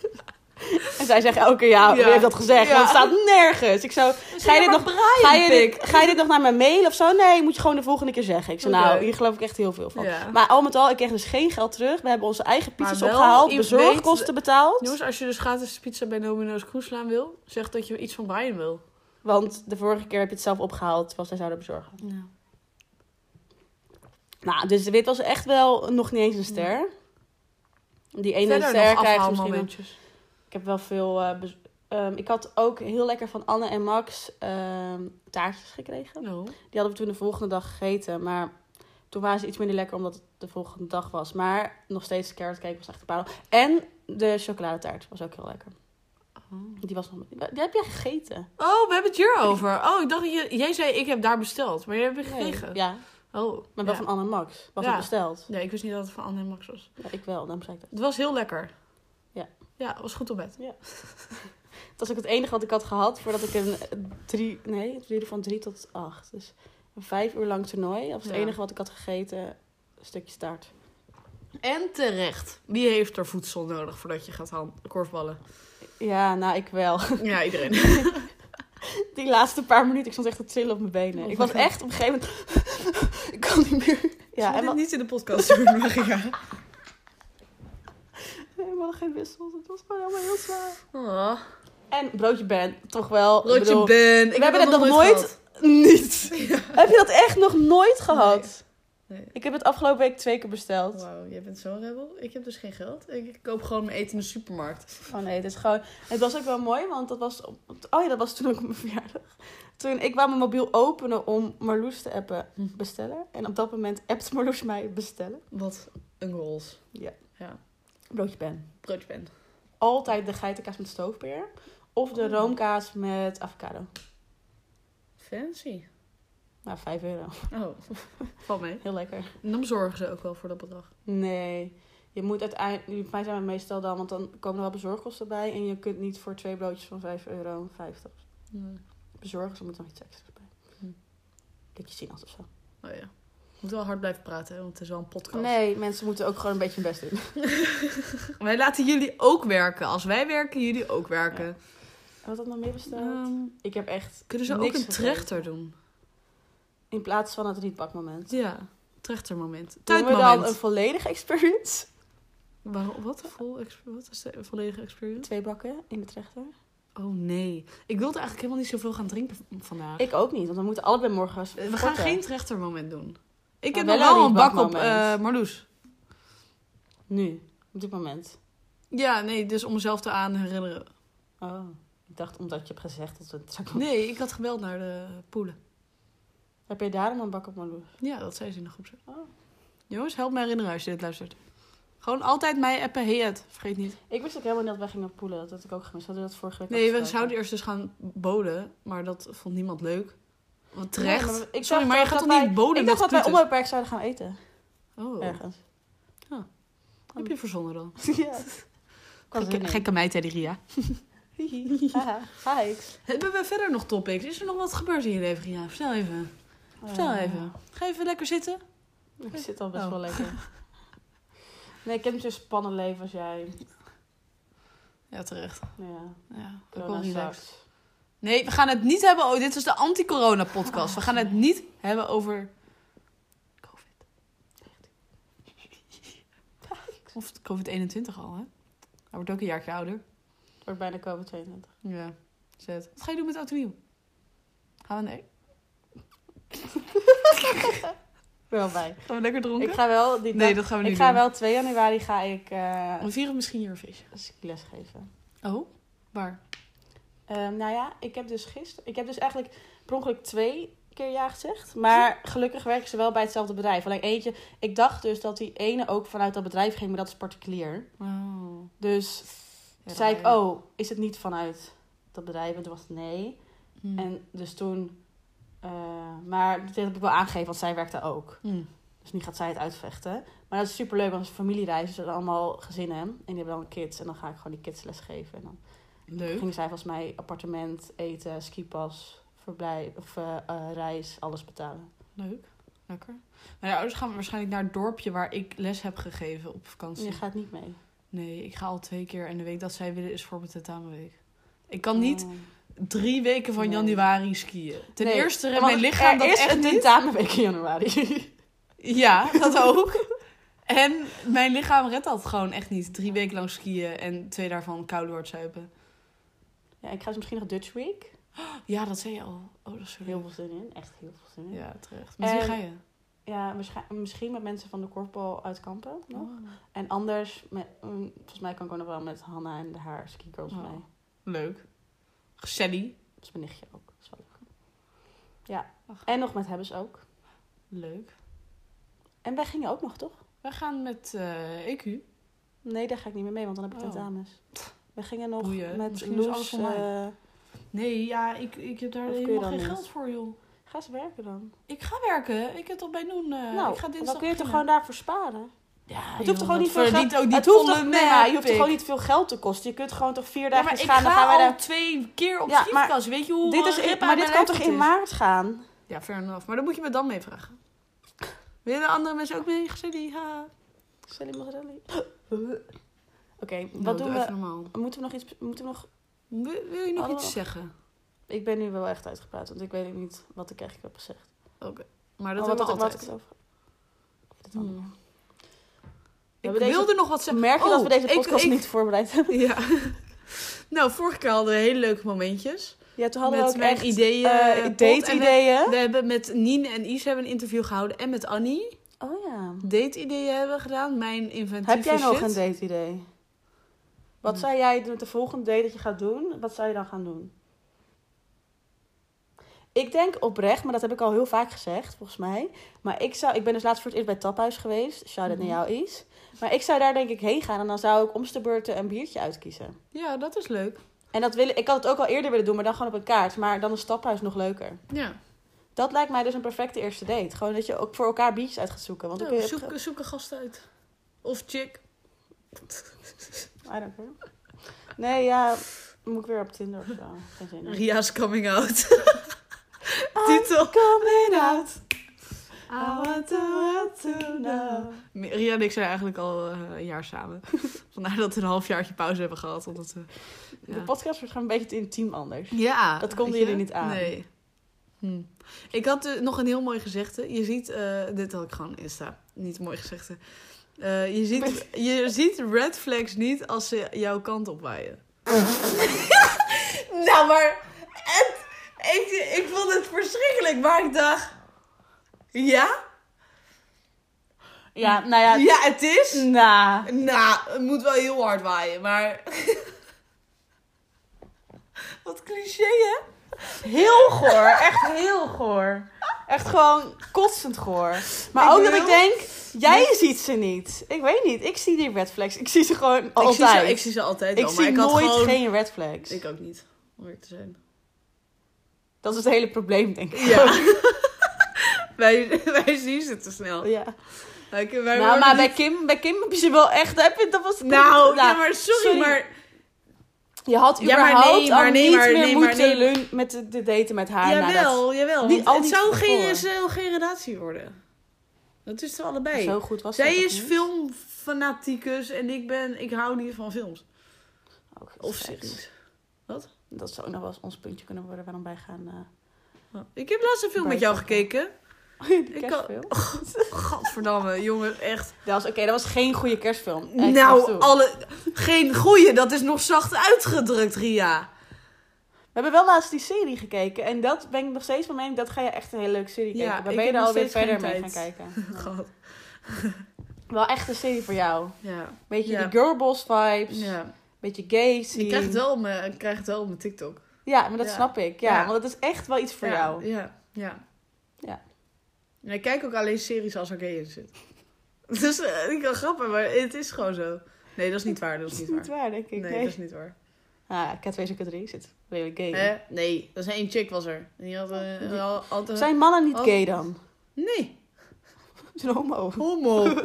[SPEAKER 2] En zij zegt elke keer, ja, wie
[SPEAKER 1] Ja.
[SPEAKER 2] heeft dat gezegd?
[SPEAKER 1] Ja.
[SPEAKER 2] Want het staat nergens. Ik zo, ga je, dit nog, ga, je dit, ga je dit nog naar mijn mail of zo? Nee, moet je gewoon de volgende keer zeggen. Ik zei, nou,
[SPEAKER 1] Oké.
[SPEAKER 2] hier geloof ik echt heel veel van.
[SPEAKER 1] Ja.
[SPEAKER 2] Oh, Maar al met al, ik kreeg dus geen geld terug. We hebben onze eigen
[SPEAKER 1] Maar
[SPEAKER 2] pizza's
[SPEAKER 1] wel,
[SPEAKER 2] opgehaald,
[SPEAKER 1] je
[SPEAKER 2] bezorgkosten betaald.
[SPEAKER 1] Jongens, als je dus gratis pizza bij Domino's Kroeslaan wil, zeg dat je iets van Brian wil.
[SPEAKER 2] Want de vorige keer heb je het zelf opgehaald, was zij zouden bezorgen. Nou, dus dit was echt wel nog niet eens een ster. Die ene ster krijgt ze misschien wel.
[SPEAKER 1] momentjes.
[SPEAKER 2] Ik heb wel veel... eh, bez- ehm, ik had ook heel lekker van Anne en Max ehm, taartjes gekregen.
[SPEAKER 1] Nou.
[SPEAKER 2] Die hadden we toen de volgende dag gegeten. Maar toen waren ze iets minder lekker omdat het de volgende dag was. Maar nog steeds de carrot cake was echt een parel. En de chocoladetaart was ook heel lekker. Die was nog... Die heb jij gegeten.
[SPEAKER 1] Oh, we hebben het hier over. Oh, ik dacht dat je... Jij zei, ik heb daar besteld. Maar jij hebt het gekregen.
[SPEAKER 2] Ja,
[SPEAKER 1] Oh,
[SPEAKER 2] maar wel
[SPEAKER 1] ja.
[SPEAKER 2] van Anne en Max. Was
[SPEAKER 1] Ja.
[SPEAKER 2] het besteld.
[SPEAKER 1] Nee, ik wist niet dat het van Anne en Max was.
[SPEAKER 2] Ja, ik wel, daarom zei ik dat.
[SPEAKER 1] Het was heel lekker.
[SPEAKER 2] Ja.
[SPEAKER 1] Ja, het was goed op bed.
[SPEAKER 2] Het was ook het enige wat ik had gehad voordat ik een eh, drie, nee, het duurde van drie tot acht. Dus een vijf uur lang toernooi. Dat was het
[SPEAKER 1] Ja.
[SPEAKER 2] enige wat ik had gegeten. Een stukje staart.
[SPEAKER 1] En terecht. Wie heeft er voedsel nodig voordat je gaat hand- korfballen?
[SPEAKER 2] Ja, nou ik wel.
[SPEAKER 1] Ja, iedereen.
[SPEAKER 2] Die laatste paar minuten, ik stond echt te trillen op mijn benen.
[SPEAKER 1] Oh
[SPEAKER 2] ik
[SPEAKER 1] my
[SPEAKER 2] was
[SPEAKER 1] God.
[SPEAKER 2] echt op een gegeven moment. ik kan niet meer. Ja, en
[SPEAKER 1] en
[SPEAKER 2] we,
[SPEAKER 1] niet in de podcast doen, Maria.
[SPEAKER 2] nee, we hadden geen wissels. Het was gewoon helemaal heel zwaar.
[SPEAKER 1] Oh,
[SPEAKER 2] En broodje Ben, toch wel.
[SPEAKER 1] broodje
[SPEAKER 2] ik bedoel,
[SPEAKER 1] Ben. Ik
[SPEAKER 2] we hebben het nog
[SPEAKER 1] gehad.
[SPEAKER 2] nooit. Niet. Heb je dat echt nog nooit gehad?
[SPEAKER 1] Nee.
[SPEAKER 2] Ik heb het afgelopen week twee keer besteld.
[SPEAKER 1] Wauw, jij bent zo'n rebel. Ik heb dus geen geld. Ik, ik koop gewoon mijn eten in de supermarkt.
[SPEAKER 2] Oh nee, het is gewoon... Het was ook wel mooi, want dat was... Op... Oh ja, dat was toen ook op mijn verjaardag. Toen ik wou mijn mobiel openen om Marloes te appen bestellen. En op dat moment appt Marloes mij bestellen.
[SPEAKER 1] Wat een goals.
[SPEAKER 2] Ja.
[SPEAKER 1] Ja.
[SPEAKER 2] Broodje pen.
[SPEAKER 1] Broodje ben.
[SPEAKER 2] Altijd de geitenkaas met stoofpeer. Of de
[SPEAKER 1] Oh.
[SPEAKER 2] roomkaas met avocado.
[SPEAKER 1] Fancy.
[SPEAKER 2] Nou, 5 euro.
[SPEAKER 1] Oh, valt mee.
[SPEAKER 2] Heel lekker.
[SPEAKER 1] En dan zorgen ze ook wel voor dat bedrag.
[SPEAKER 2] Nee. Je moet uiteindelijk, voor mij zijn we meestal dan, want dan komen er wel bezorgkosten bij. En je kunt niet voor twee broodjes van 5,50 euro bezorgen. Ze moeten nog iets extra's bij.
[SPEAKER 1] Hm.
[SPEAKER 2] Blikjes sinaas of zo.
[SPEAKER 1] Oh ja. Moet wel hard blijven praten, hè, want het is wel een podcast.
[SPEAKER 2] Nee, mensen moeten ook gewoon een beetje hun best doen.
[SPEAKER 1] Wij laten jullie ook werken. Als wij werken, jullie ook werken.
[SPEAKER 2] Wat had nog meer besteld?
[SPEAKER 1] Ehm,
[SPEAKER 2] ik heb echt
[SPEAKER 1] kunnen ze ook
[SPEAKER 2] niks
[SPEAKER 1] een trechter
[SPEAKER 2] gegeten.
[SPEAKER 1] doen?
[SPEAKER 2] In plaats van het rietbakmoment.
[SPEAKER 1] Ja, trechtermoment.
[SPEAKER 2] Doen we dan
[SPEAKER 1] Tuitmoment.
[SPEAKER 2] een volledige experience?
[SPEAKER 1] Waarom- wat? Vol ex- wat is de volledige experience?
[SPEAKER 2] Twee bakken in de trechter.
[SPEAKER 1] Oh nee. Ik wilde eigenlijk helemaal niet zoveel gaan drinken v- vandaag.
[SPEAKER 2] Ik ook niet, want we moeten allebei morgen...
[SPEAKER 1] we gaan geen trechtermoment doen. Ik
[SPEAKER 2] Maar
[SPEAKER 1] heb
[SPEAKER 2] wel
[SPEAKER 1] nog
[SPEAKER 2] een
[SPEAKER 1] wel een bak op
[SPEAKER 2] rietbakmoment.
[SPEAKER 1] eh, Marloes.
[SPEAKER 2] Nu, op dit moment.
[SPEAKER 1] Ja, nee, dus om mezelf te aan herinneren.
[SPEAKER 2] Oh, ik dacht omdat je hebt gezegd dat we het zouden doen.
[SPEAKER 1] Nee, ik had gebeld naar de poelen.
[SPEAKER 2] Heb je daarom een bak op Marloes?
[SPEAKER 1] Ja, dat zei ze in de groep.
[SPEAKER 2] Oh.
[SPEAKER 1] Jongens, help me herinneren als je dit luistert. Gewoon altijd mij appen, hey het, vergeet niet.
[SPEAKER 2] Ik wist ook helemaal niet dat wij gingen poelen. Dat had ik ook gemist. Hadden we dat vorige week
[SPEAKER 1] Nee, we
[SPEAKER 2] afgesproken?
[SPEAKER 1] zouden eerst dus gaan boden, maar dat vond niemand leuk. Want
[SPEAKER 2] Nee,
[SPEAKER 1] terecht.
[SPEAKER 2] maar ik
[SPEAKER 1] Sorry,
[SPEAKER 2] dacht
[SPEAKER 1] maar je
[SPEAKER 2] ook
[SPEAKER 1] gaat
[SPEAKER 2] dat
[SPEAKER 1] toch
[SPEAKER 2] wij-
[SPEAKER 1] niet boden
[SPEAKER 2] Ik
[SPEAKER 1] met
[SPEAKER 2] dacht dat wij
[SPEAKER 1] kuters?
[SPEAKER 2] onbeperkt zouden gaan eten.
[SPEAKER 1] Oh,
[SPEAKER 2] Ergens.
[SPEAKER 1] heb je verzonnen dan?
[SPEAKER 2] ja.
[SPEAKER 1] Gekke, gekke meid, hè, die Ria.
[SPEAKER 2] Haha, ga ik.
[SPEAKER 1] Hebben we verder nog topics? Is er nog wat gebeurd in je leven, Ria? Vertel even. Vertel
[SPEAKER 2] Eh,
[SPEAKER 1] even. Ga even lekker zitten.
[SPEAKER 2] Ik zit al best
[SPEAKER 1] Oh.
[SPEAKER 2] wel lekker. Nee, ik heb niet zo'n spannend leven als jij. Nou
[SPEAKER 1] Ja, terecht.
[SPEAKER 2] Ja,
[SPEAKER 1] Ja, ook wel
[SPEAKER 2] corona
[SPEAKER 1] relaxed.
[SPEAKER 2] sucks.
[SPEAKER 1] Nee, we gaan het niet hebben. Oh, dit was de anti-corona-podcast. We gaan het niet hebben over. COVID. Of het COVID-21 al, hè? Hij wordt ook een jaartje ouder.
[SPEAKER 2] Ik word bijna COVID-22.
[SPEAKER 1] Ja, zet. Wat ga je doen met oud en nieuw? Gaan we, nee.
[SPEAKER 2] Wel bij.
[SPEAKER 1] gaan we lekker dronken?
[SPEAKER 2] Ik ga wel die
[SPEAKER 1] nee,
[SPEAKER 2] dag-
[SPEAKER 1] dat gaan we nu
[SPEAKER 2] ik ga
[SPEAKER 1] doen.
[SPEAKER 2] wel 2 januari ga ik eh
[SPEAKER 1] We vieren misschien hier een feestje.
[SPEAKER 2] als ik les geven.
[SPEAKER 1] Oh, waar?
[SPEAKER 2] Ehm, nou ja, ik heb dus gisteren. Ik heb dus eigenlijk per ongeluk twee keer ja gezegd. Maar gelukkig werken ze wel bij hetzelfde bedrijf. Alleen eentje. Ik dacht dus dat die ene ook vanuit dat bedrijf ging, maar dat is particulier.
[SPEAKER 1] Oh.
[SPEAKER 2] Dus toen zei ik, oh, is het niet vanuit dat bedrijf? En toen was het nee.
[SPEAKER 1] Hmm.
[SPEAKER 2] En dus toen. eh, maar dit heb ik wel aangegeven, want zij werkt daar ook.
[SPEAKER 1] Hmm.
[SPEAKER 2] Dus nu gaat zij het uitvechten. Maar dat is superleuk, want het is een familiereis. Dus er zijn allemaal gezinnen. En die hebben dan kids. En dan ga ik gewoon die kids les geven. En dan
[SPEAKER 1] Leuk.
[SPEAKER 2] Gingen zij volgens mij appartement, eten, skipas, verblijf, of, eh, eh, reis, alles betalen.
[SPEAKER 1] Leuk. Lekker. Mijn ouders gaan waarschijnlijk naar het dorpje waar ik les heb gegeven op
[SPEAKER 2] En
[SPEAKER 1] vakantie.
[SPEAKER 2] Dus je gaat niet mee.
[SPEAKER 1] Nee, ik ga al twee keer en de week dat zij willen is voor mijn tentamenweek. Ik kan niet drie weken van
[SPEAKER 2] Nee.
[SPEAKER 1] januari skiën. Ten
[SPEAKER 2] Nee,
[SPEAKER 1] eerste remt
[SPEAKER 2] Want
[SPEAKER 1] mijn lichaam
[SPEAKER 2] er
[SPEAKER 1] dat
[SPEAKER 2] is
[SPEAKER 1] echt
[SPEAKER 2] een
[SPEAKER 1] niet.
[SPEAKER 2] tentamenweek in januari.
[SPEAKER 1] Ja, dat ook. En mijn lichaam redt dat gewoon echt niet. Drie weken lang skiën en twee daarvan koude zuipen.
[SPEAKER 2] ja, ik ga dus misschien nog Dutch Week.
[SPEAKER 1] Ja, dat zei je al. Oh, dat is zo
[SPEAKER 2] Heel
[SPEAKER 1] heel
[SPEAKER 2] veel zin in, echt heel veel zin in. Ja,
[SPEAKER 1] Ja, terecht. Met wie
[SPEAKER 2] En-
[SPEAKER 1] ga je?
[SPEAKER 2] waarsch- misschien met mensen van de korfbal uit Kampen. nog.
[SPEAKER 1] Oh.
[SPEAKER 2] En anders, met, mm, volgens mij kan ik ook nog wel met Hanna en haar ski girls
[SPEAKER 1] Oh.
[SPEAKER 2] mee.
[SPEAKER 1] Leuk. Gezellig.
[SPEAKER 2] Dat is mijn nichtje ook. Dat is wel leuk. Ja,
[SPEAKER 1] Ach.
[SPEAKER 2] en nog met Hebbes ook.
[SPEAKER 1] Leuk.
[SPEAKER 2] En wij gingen ook nog, toch?
[SPEAKER 1] We gaan met eh, EQ.
[SPEAKER 2] Nee, daar ga ik niet meer mee, want dan heb ik
[SPEAKER 1] Oh.
[SPEAKER 2] tentamens. We gingen nog
[SPEAKER 1] Boeien.
[SPEAKER 2] met
[SPEAKER 1] Misschien is
[SPEAKER 2] Loes...
[SPEAKER 1] alles voor mij.
[SPEAKER 2] eh,
[SPEAKER 1] Nee, ja, ik, ik heb daar
[SPEAKER 2] Of kun je
[SPEAKER 1] helemaal
[SPEAKER 2] dan
[SPEAKER 1] geen
[SPEAKER 2] niet?
[SPEAKER 1] geld voor, joh.
[SPEAKER 2] ga ze werken dan.
[SPEAKER 1] Ik ga werken. Ik heb het al bij Noen. eh,
[SPEAKER 2] nou,
[SPEAKER 1] ik ga
[SPEAKER 2] dan
[SPEAKER 1] dinsdag
[SPEAKER 2] kun je toch
[SPEAKER 1] beginnen.
[SPEAKER 2] gewoon daarvoor sparen?
[SPEAKER 1] Ja,
[SPEAKER 2] Het hoeft toch gewoon niet veel
[SPEAKER 1] verdient ook niet
[SPEAKER 2] het hoeft
[SPEAKER 1] volle
[SPEAKER 2] toch, nee,
[SPEAKER 1] merk,
[SPEAKER 2] maar je hoeft toch
[SPEAKER 1] pik.
[SPEAKER 2] gewoon niet veel geld te kosten? Je kunt gewoon toch vier
[SPEAKER 1] Ja,
[SPEAKER 2] dagen
[SPEAKER 1] maar ik
[SPEAKER 2] gaan,
[SPEAKER 1] ga,
[SPEAKER 2] dan gaan wij
[SPEAKER 1] al
[SPEAKER 2] daar...
[SPEAKER 1] twee keer op
[SPEAKER 2] Ja, maar
[SPEAKER 1] schietkas. Weet je hoe
[SPEAKER 2] Dit is
[SPEAKER 1] eh,
[SPEAKER 2] in,
[SPEAKER 1] rip aan
[SPEAKER 2] maar
[SPEAKER 1] mijn
[SPEAKER 2] dit kan
[SPEAKER 1] lijf
[SPEAKER 2] toch
[SPEAKER 1] het
[SPEAKER 2] in
[SPEAKER 1] is?
[SPEAKER 2] maart gaan?
[SPEAKER 1] Ja, fair enough. Maar dan moet je me dan mee vragen. Willen andere mensen ook mee? Gezellig. ha.
[SPEAKER 2] Sally Mozzarelli. Oké,
[SPEAKER 1] Nou,
[SPEAKER 2] wat doen
[SPEAKER 1] doe
[SPEAKER 2] we?
[SPEAKER 1] even normaal.
[SPEAKER 2] Moeten we nog iets... Moeten we nog...
[SPEAKER 1] Wil, wil je nog
[SPEAKER 2] Oh.
[SPEAKER 1] iets zeggen?
[SPEAKER 2] Ik ben nu wel echt uitgepraat, want ik weet ook niet wat ik eigenlijk heb gezegd.
[SPEAKER 1] Oké. Maar dat
[SPEAKER 2] Oh,
[SPEAKER 1] had
[SPEAKER 2] wat- wat
[SPEAKER 1] altijd.
[SPEAKER 2] ik het over... Ik weet het allemaal
[SPEAKER 1] Hmm. Ik
[SPEAKER 2] hebben deze-
[SPEAKER 1] wilde nog wat
[SPEAKER 2] Ze
[SPEAKER 1] zeggen.
[SPEAKER 2] merken dat
[SPEAKER 1] Oh,
[SPEAKER 2] we deze
[SPEAKER 1] ik-
[SPEAKER 2] podcast
[SPEAKER 1] ik-
[SPEAKER 2] niet voorbereid hebben.
[SPEAKER 1] Ja. Nou, vorige keer hadden we hele leuke momentjes.
[SPEAKER 2] Ja, toen hadden
[SPEAKER 1] met
[SPEAKER 2] we ook
[SPEAKER 1] mijn
[SPEAKER 2] echt
[SPEAKER 1] ideeën.
[SPEAKER 2] eh,
[SPEAKER 1] pot. En we-
[SPEAKER 2] date-ideeën.
[SPEAKER 1] We hebben met Nien en Is hebben een interview gehouden. En met Annie.
[SPEAKER 2] Oh ja.
[SPEAKER 1] Date-ideeën hebben we gedaan. Mijn inventieve
[SPEAKER 2] Heb jij nog
[SPEAKER 1] shit.
[SPEAKER 2] een date-idee? Wat
[SPEAKER 1] Hmm.
[SPEAKER 2] zou jij met de volgende date dat je gaat doen? Wat zou je dan gaan doen? Ik denk oprecht, maar dat heb ik al heel vaak gezegd, volgens mij. Maar ik zou, ik ben dus laatst voor het eerst bij Taphuis geweest. Shout out
[SPEAKER 1] Mhm.
[SPEAKER 2] naar jou, Is. Maar ik zou daar denk ik heen gaan en dan zou ik om de beurten een biertje uitkiezen.
[SPEAKER 1] Ja, dat is leuk.
[SPEAKER 2] En dat wil ik, ik had het ook al eerder willen doen, maar dan gewoon op een kaart. Maar dan is Taphuis nog leuker.
[SPEAKER 1] Ja.
[SPEAKER 2] Dat lijkt mij dus een perfecte eerste date. Gewoon dat je ook voor elkaar biertjes uit gaat zoeken. Want dan
[SPEAKER 1] Nou,
[SPEAKER 2] kun je...
[SPEAKER 1] zoek, zoek een gast uit. Of chick.
[SPEAKER 2] I don't care. Nee, ja, dan moet ik weer op Tinder of zo. Geen zin in.
[SPEAKER 1] Ria's coming out. Titel.
[SPEAKER 2] Coming out.
[SPEAKER 1] Ria en ik zijn eigenlijk al eh, een jaar samen. Vandaar dat we een halfjaartje pauze hebben gehad. Omdat we,
[SPEAKER 2] De podcast wordt gewoon een beetje te intiem anders.
[SPEAKER 1] Ja.
[SPEAKER 2] Dat konden
[SPEAKER 1] weet je?
[SPEAKER 2] jullie niet aan.
[SPEAKER 1] Nee. Hm. Ik had eh, nog een heel mooi gezegde. Je ziet, eh, dit had ik gewoon Insta. Niet mooi gezegde. Eh, je, ziet, je ziet red flags niet als ze jouw kant op waaien.
[SPEAKER 2] Nou, maar het- ik, ik vond het verschrikkelijk, maar ik dacht...
[SPEAKER 1] Ja?
[SPEAKER 2] Ja, nou ja...
[SPEAKER 1] Ja, het is.
[SPEAKER 2] Nou,
[SPEAKER 1] Nou, het moet wel heel hard waaien, maar. Wat cliché, hè?
[SPEAKER 2] heel goor. Echt heel goor. Echt gewoon kotsend goor. Maar
[SPEAKER 1] Ik
[SPEAKER 2] ook dat
[SPEAKER 1] wil-
[SPEAKER 2] ik denk, jij ziet ze niet. Ik weet niet, ik zie die red flags. Ik zie ze gewoon altijd.
[SPEAKER 1] Ik zie, ze, ik zie ze altijd
[SPEAKER 2] Ik
[SPEAKER 1] wel,
[SPEAKER 2] zie
[SPEAKER 1] maar ik had
[SPEAKER 2] nooit
[SPEAKER 1] gewoon...
[SPEAKER 2] geen red flags.
[SPEAKER 1] Ik ook niet, om eerlijk te zijn.
[SPEAKER 2] Dat is het hele probleem, denk ik.
[SPEAKER 1] Ja. wij, wij zien ze te snel.
[SPEAKER 2] Ja.
[SPEAKER 1] Wij, wij
[SPEAKER 2] Nou,
[SPEAKER 1] worden
[SPEAKER 2] maar bij
[SPEAKER 1] niet-
[SPEAKER 2] Kim, bij Kim heb je ze wel echt... Heb je, dat was
[SPEAKER 1] Nou,
[SPEAKER 2] Nou,
[SPEAKER 1] ja, maar sorry,
[SPEAKER 2] sorry.
[SPEAKER 1] maar...
[SPEAKER 2] je had
[SPEAKER 1] Ja, maar
[SPEAKER 2] überhaupt
[SPEAKER 1] nee, maar
[SPEAKER 2] al
[SPEAKER 1] nee,
[SPEAKER 2] niet
[SPEAKER 1] maar
[SPEAKER 2] meer
[SPEAKER 1] nee, maar
[SPEAKER 2] moeten
[SPEAKER 1] nee.
[SPEAKER 2] leun- met de, de daten met haar. na Ah, nou, dat.
[SPEAKER 1] jawel, jawel.
[SPEAKER 2] die-
[SPEAKER 1] want
[SPEAKER 2] al
[SPEAKER 1] het
[SPEAKER 2] die
[SPEAKER 1] zou geen,
[SPEAKER 2] voor.
[SPEAKER 1] het zou geen relatie worden. Dat is er allebei.
[SPEAKER 2] Zo goed was
[SPEAKER 1] Zij
[SPEAKER 2] dat ook
[SPEAKER 1] is
[SPEAKER 2] niet.
[SPEAKER 1] filmfanaticus en ik ben... Ik hou niet van films.
[SPEAKER 2] Ook
[SPEAKER 1] Of
[SPEAKER 2] seks.
[SPEAKER 1] series.
[SPEAKER 2] Dat zou ook nog wel eens ons puntje kunnen worden waarom wij gaan... eh,
[SPEAKER 1] Oh, Ik heb laatst een film met jou gekeken.
[SPEAKER 2] die
[SPEAKER 1] Ik kan-
[SPEAKER 2] kerstfilm.
[SPEAKER 1] Gadverdamme, jongen, echt.
[SPEAKER 2] Dat was, oké, dat was geen goede kerstfilm. Echt, af en
[SPEAKER 1] Nou,
[SPEAKER 2] toe.
[SPEAKER 1] alle... Geen goeie, dat is nog zacht uitgedrukt, Ria.
[SPEAKER 2] We hebben wel laatst die serie gekeken. En dat ben ik nog steeds van mening. Dat ga je echt een hele leuke serie
[SPEAKER 1] Ja,
[SPEAKER 2] kijken. Maar
[SPEAKER 1] ik
[SPEAKER 2] ben je
[SPEAKER 1] heb
[SPEAKER 2] er
[SPEAKER 1] nog
[SPEAKER 2] alweer
[SPEAKER 1] steeds
[SPEAKER 2] verder
[SPEAKER 1] geen
[SPEAKER 2] mee gaan
[SPEAKER 1] tijd.
[SPEAKER 2] kijken? Ja.
[SPEAKER 1] God.
[SPEAKER 2] Wel echt een serie voor jou.
[SPEAKER 1] Ja.
[SPEAKER 2] Beetje
[SPEAKER 1] Ja.
[SPEAKER 2] die girlboss vibes.
[SPEAKER 1] Ja.
[SPEAKER 2] Beetje gay
[SPEAKER 1] Je
[SPEAKER 2] scene.
[SPEAKER 1] krijgt het wel op mijn, krijgt het wel op mijn TikTok.
[SPEAKER 2] Ja, maar dat
[SPEAKER 1] Ja.
[SPEAKER 2] snap ik. Ja,
[SPEAKER 1] Ja.
[SPEAKER 2] want dat is echt wel iets voor
[SPEAKER 1] ja,
[SPEAKER 2] jou.
[SPEAKER 1] Ja. Ja.
[SPEAKER 2] Ja.
[SPEAKER 1] En ik kijk ook alleen series als er gay in zit. Dus eh, ik kan grappen, maar het is gewoon zo. Nee, dat is niet waar. Dat is niet waar.
[SPEAKER 2] denk ik.
[SPEAKER 1] Nee,
[SPEAKER 2] Nee,
[SPEAKER 1] dat is Eh, niet waar.
[SPEAKER 2] Ah, Cat 2 Cat 3 zit redelijk gay. in.
[SPEAKER 1] Hè? Nee, dat is één chick was er. En die had eh,
[SPEAKER 2] Oh, Die-
[SPEAKER 1] al- altijd...
[SPEAKER 2] Zijn mannen niet
[SPEAKER 1] Oh.
[SPEAKER 2] gay dan?
[SPEAKER 1] Nee,
[SPEAKER 2] Zijn homo.
[SPEAKER 1] homo.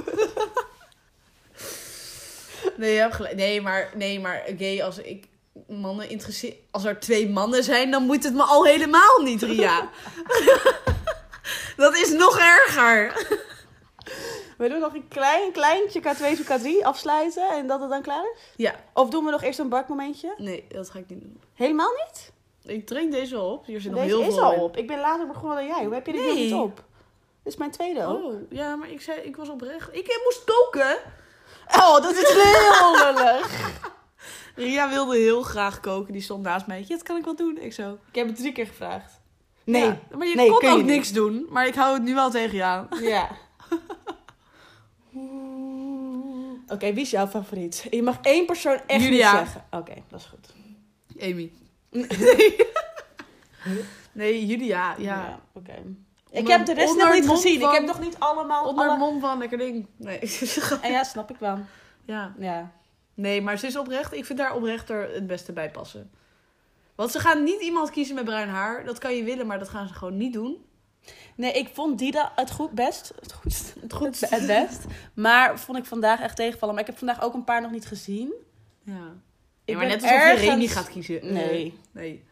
[SPEAKER 1] nee, je hebt gelijk. Nee, maar, nee, maar gay als ik... Mannen interesseer... Als er twee mannen zijn, dan moet het me al helemaal niet, Ria. dat is nog erger.
[SPEAKER 2] We doen nog een klein, kleintje K2 Cat 3 afsluiten en dat het dan klaar is?
[SPEAKER 1] Ja.
[SPEAKER 2] Of doen we nog eerst een bakmomentje?
[SPEAKER 1] Nee, dat ga ik niet doen.
[SPEAKER 2] Helemaal niet?
[SPEAKER 1] Ik drink deze al op. Hier zit nog
[SPEAKER 2] Deze
[SPEAKER 1] heel
[SPEAKER 2] is
[SPEAKER 1] veel
[SPEAKER 2] al
[SPEAKER 1] in.
[SPEAKER 2] op. Ik ben later begonnen dan jij. Hoe heb je dit
[SPEAKER 1] Nee.
[SPEAKER 2] nog niet op? Dit is mijn tweede al. Oh,
[SPEAKER 1] Oh, ja, maar ik zei, ik was oprecht. Ik eh, moest koken.
[SPEAKER 2] Oh, dat is heel lullig.
[SPEAKER 1] Ria wilde heel graag koken. Die stond naast mij. Ja, dat kan ik wel doen. Ik zo.
[SPEAKER 2] Ik heb het drie keer gevraagd. Nee.
[SPEAKER 1] Ja, maar je
[SPEAKER 2] Nee,
[SPEAKER 1] kon
[SPEAKER 2] kun je
[SPEAKER 1] ook
[SPEAKER 2] niet.
[SPEAKER 1] niks doen. Maar ik hou het nu wel tegen je aan.
[SPEAKER 2] Ja. Oké, wie is jouw favoriet? Je mag één persoon echt
[SPEAKER 1] Julia.
[SPEAKER 2] niet zeggen. Oké, dat is goed.
[SPEAKER 1] Amy. Nee. nee, Julia. Ja.
[SPEAKER 2] Oké. Ik
[SPEAKER 1] Onder-
[SPEAKER 2] heb de rest
[SPEAKER 1] onder
[SPEAKER 2] nog niet
[SPEAKER 1] het mom
[SPEAKER 2] gezien.
[SPEAKER 1] van-
[SPEAKER 2] Ik heb nog niet allemaal...
[SPEAKER 1] Onder
[SPEAKER 2] alle-
[SPEAKER 1] mom van lekker ding. Nee.
[SPEAKER 2] En ja, snap ik wel.
[SPEAKER 1] ja.
[SPEAKER 2] Ja.
[SPEAKER 1] Nee, maar ze is oprecht. Ik vind haar oprechter het beste bij passen. Want ze gaan niet iemand kiezen met bruin haar. Dat kan je willen, maar dat gaan ze gewoon niet doen.
[SPEAKER 2] Nee, ik vond Dida het goed best. Het goed.
[SPEAKER 1] Het goed.
[SPEAKER 2] Het, het best. Maar vond ik vandaag echt tegenvallen. Maar ik heb vandaag ook een paar nog niet gezien.
[SPEAKER 1] Ja.
[SPEAKER 2] Ik
[SPEAKER 1] Nee, maar
[SPEAKER 2] ben
[SPEAKER 1] net alsof
[SPEAKER 2] ergens-
[SPEAKER 1] je Remy gaat kiezen.
[SPEAKER 2] Nee.
[SPEAKER 1] Nee.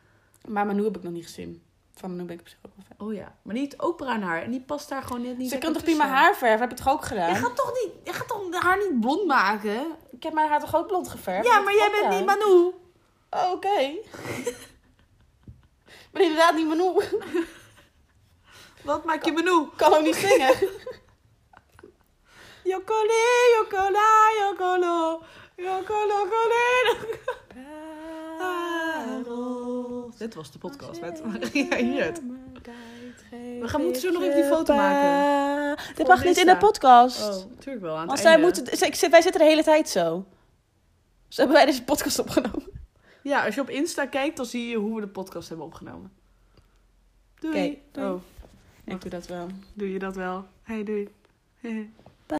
[SPEAKER 2] Eh, Maar Manu heb ik nog niet gezien. Van Manu ben ik op zich ook wel fan.
[SPEAKER 1] Oh ja. Maar die heeft ook bruin haar. En die past daar gewoon net niet
[SPEAKER 2] Ze
[SPEAKER 1] lekker
[SPEAKER 2] kan toch prima
[SPEAKER 1] tussen.
[SPEAKER 2] haar verven? Heb ik toch ook gedaan?
[SPEAKER 1] Je gaat toch niet... Je gaat toch haar niet blond maken?
[SPEAKER 2] Ik heb mijn haar toch ook blond geverfd?
[SPEAKER 1] Ja,
[SPEAKER 2] Dat
[SPEAKER 1] maar
[SPEAKER 2] heb
[SPEAKER 1] jij
[SPEAKER 2] ik ook
[SPEAKER 1] bent niet
[SPEAKER 2] gedaan.
[SPEAKER 1] Manu.
[SPEAKER 2] Oh, Oké. Ik ben inderdaad niet Manu.
[SPEAKER 1] Wat maak je Manu?
[SPEAKER 2] Ik kan ook niet zingen.
[SPEAKER 1] Jokole, jokola, jokolo. Jokolo, kole, parels. Dit was de podcast met
[SPEAKER 2] Oh,
[SPEAKER 1] Maria Hiert.
[SPEAKER 2] We
[SPEAKER 1] We gaan- moeten zo nog even die foto maken.
[SPEAKER 2] eh, Dit mag niet in de
[SPEAKER 1] Insta.
[SPEAKER 2] podcast.
[SPEAKER 1] Oh, natuurlijk wel. Aan het
[SPEAKER 2] Want zij
[SPEAKER 1] einde.
[SPEAKER 2] moeten, ze- ik zit- wij zitten de hele tijd zo. Dus hebben wij deze podcast opgenomen.
[SPEAKER 1] Ja, als je op Insta kijkt, dan zie je hoe we de podcast hebben opgenomen. Doei.
[SPEAKER 2] Oké, doei.
[SPEAKER 1] Oh,
[SPEAKER 2] Ik doe dat wel.
[SPEAKER 1] doe je dat wel? Hey, doei.